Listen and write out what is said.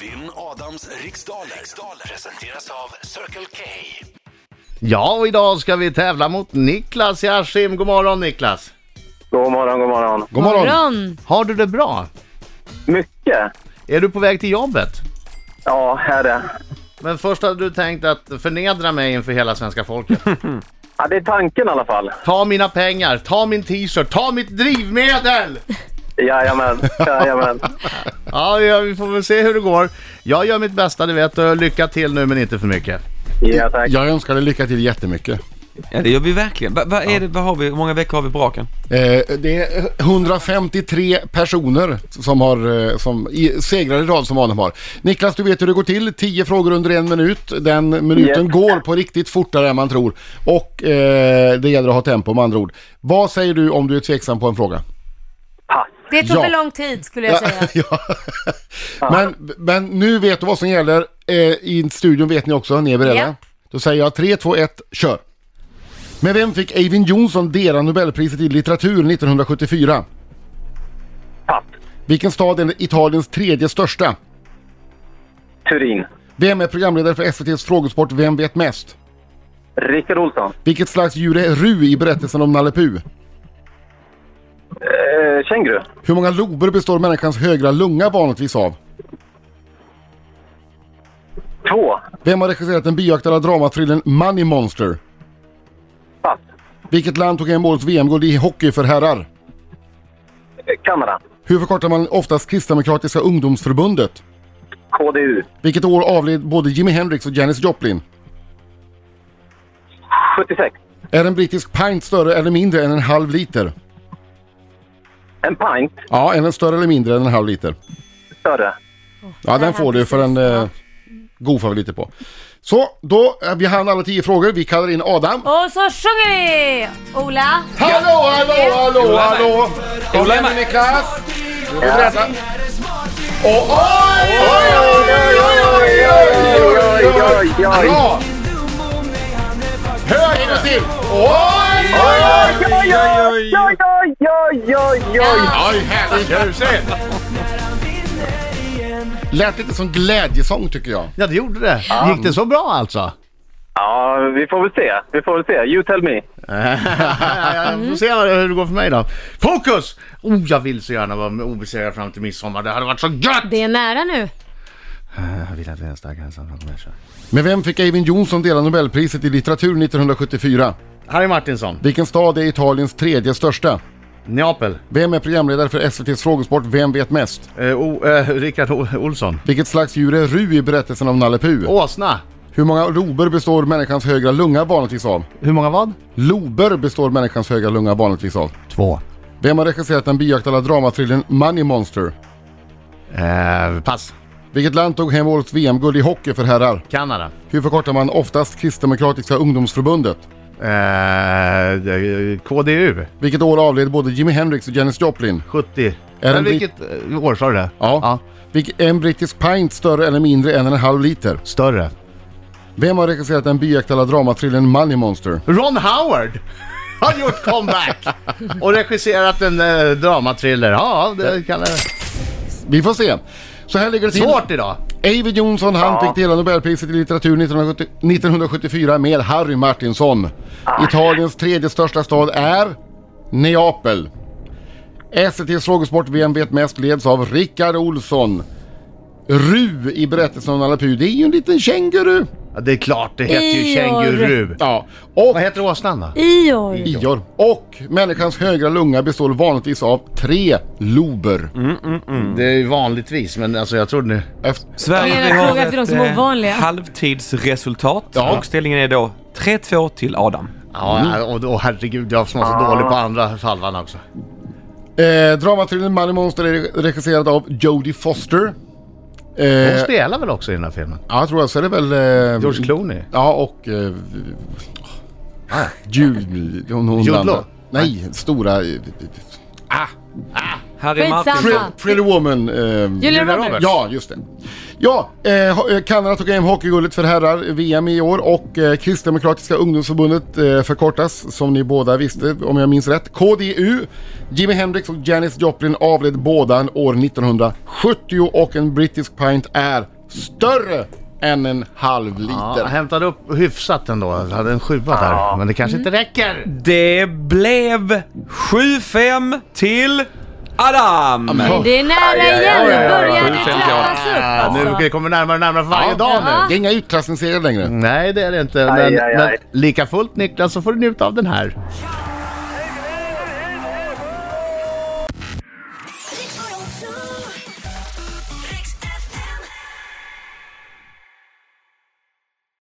Vinn Adams riksdaler. riksdaler presenteras av Circle K. Ja, och idag ska vi tävla mot Niklas i Askim. God morgon Niklas! God morgon, god morgon. God morgon. Har du det bra? Mycket? Är du på väg till jobbet? Ja, här är det. Men först hade du tänkt att förnedra mig inför hela svenska folket. Ja, det är tanken i alla fall. Ta mina pengar, ta min t-shirt, ta mitt drivmedel! Jajamän, jajamän. Ja, ja, vi får väl se hur det går. Jag gör mitt bästa, det vet du. Lycka till nu, men inte för mycket. Ja, tack. Jag önskar dig lycka till jättemycket. Ja det gör vi verkligen. Va, va är det, vad har vi, hur många veckor har vi på raken? Eh, det är 153 personer som, har, eh, som i, segrar i rad som Adam har. Niklas, du vet hur det går till. 10 frågor under en minut. Den minuten Yes. går på riktigt fortare än man tror. Och eh, det gäller att ha tempo med andra ord. Vad säger du om du är tveksam på en fråga? Pass. Det tog Ja. för lång tid skulle jag säga. ja. men, men nu vet du vad som gäller. Eh, I studion vet ni också, ni är beredda? Ja. Då säger jag 3, 2, 1, kör! Med vem fick Eivind Johnson dela Nobelpriset i litteratur 1974? Pass. Vilken stad är Italiens tredje största? Turin. Vem är programledare för SVTs frågesport Vem vet mest? Rickard Olsson. Vilket slags djur är Ru i berättelsen om Nalle Puh? Eh, känguru. Hur många lober består människans högra lunga vanligtvis av? Två. Vem har regisserat den bioaktuella dramathrillern Money Monster? Pass. Vilket land tog hem årets VM-guld i hockey för herrar? Eh, Kanada. Hur förkortar man oftast Kristdemokratiska ungdomsförbundet? KDU. Vilket år avled både Jimi Hendrix och Janis Joplin? 76. Är en brittisk pint större eller mindre än en halv liter? En pint. Ja, är den större eller mindre än en halv liter? Större. Ja, Det den här får du precis, för en ja. eh, god favoriter på. Så, då, eh, vi hann alla tio frågor. Vi kallar in Adam. Och så sjunger vi! Ola? Hallå, hallå, hallå, Ola är med. hallå! Kom Ola är igen nu med. Niklas! Nu är vi beredda. Och oj, oj, oj, oj, oj, oj, oj, oj, oj, oj, oj. Bra! Höger och till! Oj, oj, oj! Oj, oj, oj, oj, oj, oj, oj, oj. Oj, härligt ljuset! Lät lite som glädjesång tycker jag. Ja, det gjorde det. Gick det så bra alltså? Ja, vi får väl se. Vi får väl se. You tell me. Vi får se hur det går för mig då. Fokus! Oh, jag vill så gärna vara obesegrad fram till midsommar. Det hade varit så gött! Det är nära nu. Jag vill att vi är en stark ensam framför människa. Med vem fick Eivind Johnson dela Nobelpriset i litteratur 1974? Harry Martinsson, Vilken stad är Italiens tredje största? Neapel, Vem är programledare för SVTs frågesport Vem vet mest? eh, o, eh, Rickard O- Olsson, Vilket slags djur är Ru i berättelsen om Nalle Puh? Åsna. Hur många lober består människans högra lunga vanligtvis av? Hur många vad? Lober består människans högra lunga vanligtvis av. Två. Vem har regisserat den bioaktuella dramathrillern Money Monster? Eh, pass. Vilket land tog hem årets VM-guld i hockey för herrar? Kanada. Hur förkortar man oftast Kristdemokratiska ungdomsförbundet? Eh, eh, KDU. Vilket år avled både Jimi Hendrix och Janis Joplin? 70. Är Men den brit- vilket eh, år sa du det? Ja. Vilk- är en brittisk pint större eller mindre än en halv liter? Större. Vem har regisserat den bioaktuella dramathrillern Money Monster? Ron Howard har gjort comeback och regisserat en eh, dramatriller. Ja, det kan det. Vi får se. Så här ligger det till. Svårt idag. Eivind Johnson han Ja. fick dela Nobelpriset i litteratur 1970, 1974 med Harry Martinsson. Italiens tredje största stad är Neapel. SVTs frågesport Vem vet mest leds av Rickard Olsson. Ru i berättelsen om Nalle Puh, det är ju en liten känguru. Ja, det är klart, det heter ju Ior. känguru. Ja, och Vad heter åsnan då? Ior. Ior. Och människans högra lunga består vanligtvis av tre lober. Mm. Det är ju vanligtvis, men alltså jag trodde nu... Efter, Jag Sverige menar, fråga efter de som är eh, ovanliga. halvtidsresultat Ja. och ställningen är då 3-2 till Adam. Ja, och, och herregud, jag som var så dålig på andra halvan också. eh, dramathrillern Money Monster är regisserad av Jodie Foster. Eh, Hon spelar väl också i den här filmen? Ja, jag tror jag. Så är det väl... Eh, George Clooney? Ja, och... Eh, ah, Jude... Hon, hon Jude andra. Law? Nej, stora... eh, Ah! Harry Skitsamma. Martin. Pre- Pretty Woman. Eh, Julia Julia Roberts. Roberts. Ja, just det. Ja, eh, ho- eh, Kanada tog hem hockeyguldet för herrar VM i år och eh, Kristdemokratiska ungdomsförbundet eh, förkortas som ni båda visste om jag minns rätt. KDU, Jimi Hendrix och Janis Joplin avled båda år 1970 och en brittisk pint är större än en halv Ja, liter. hämtade upp hyfsat ändå. Jag hade en sjua där. Men det kanske Mm. inte räcker. Det blev 7-5 till Adam. Ja. Det är nära Aj, aj, igen. aj, aj, Nu aj, börjar aj, det aj, aj. trappas upp Ja, alltså. nu kommer närmare och närmare för varje Ja. dag nu. Det är inga utklassningsserier längre. Nej, det är det inte. Men, Aj, aj, aj. men lika fullt Niklas så får du njuta av den här.